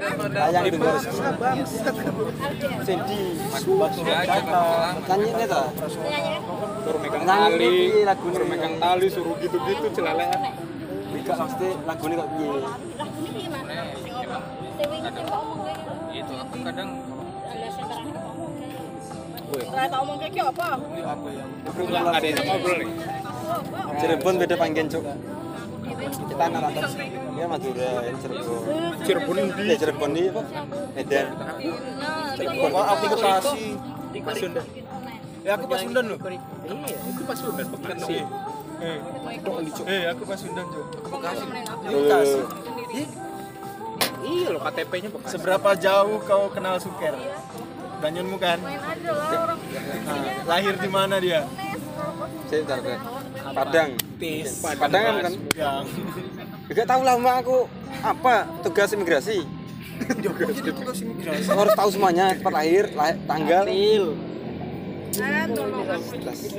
Ayang di bawah Sendi, Nyanyi ini tuh. suruh megang Nyanyi tali ini lagu suruh ini. megang tali suruh gitu-gitu celelean Tiga pasti lagu ini kok piye. itu aku kadang ngomong kayak apa? nggak ada yang ngobrol nih Cirebon beda panggilan cuk. Kita anak atas. Ya Madura, ini Cirebon. Cirebon di Ya Cirebon ini apa? Medan. Cirebon. Wah, aku ke Bekasi. Pasundan. Ya aku Pasundan loh. iya itu pas lu udah pekan sih Eh, eh aku Pasundan, Cuk. Eh, Ih, iya lo KTP-nya bekas Seberapa jauh kau kenal Suker? Banyunmu kan? Nah, lahir di mana dia? saya ntar deh. Padang. Tis. Padang kan kan. Ya, Gak tahu lama aku apa tugas imigrasi. Harus tahu semuanya tempat lahir, lah- tanggal. Nah, tolong. Jelas.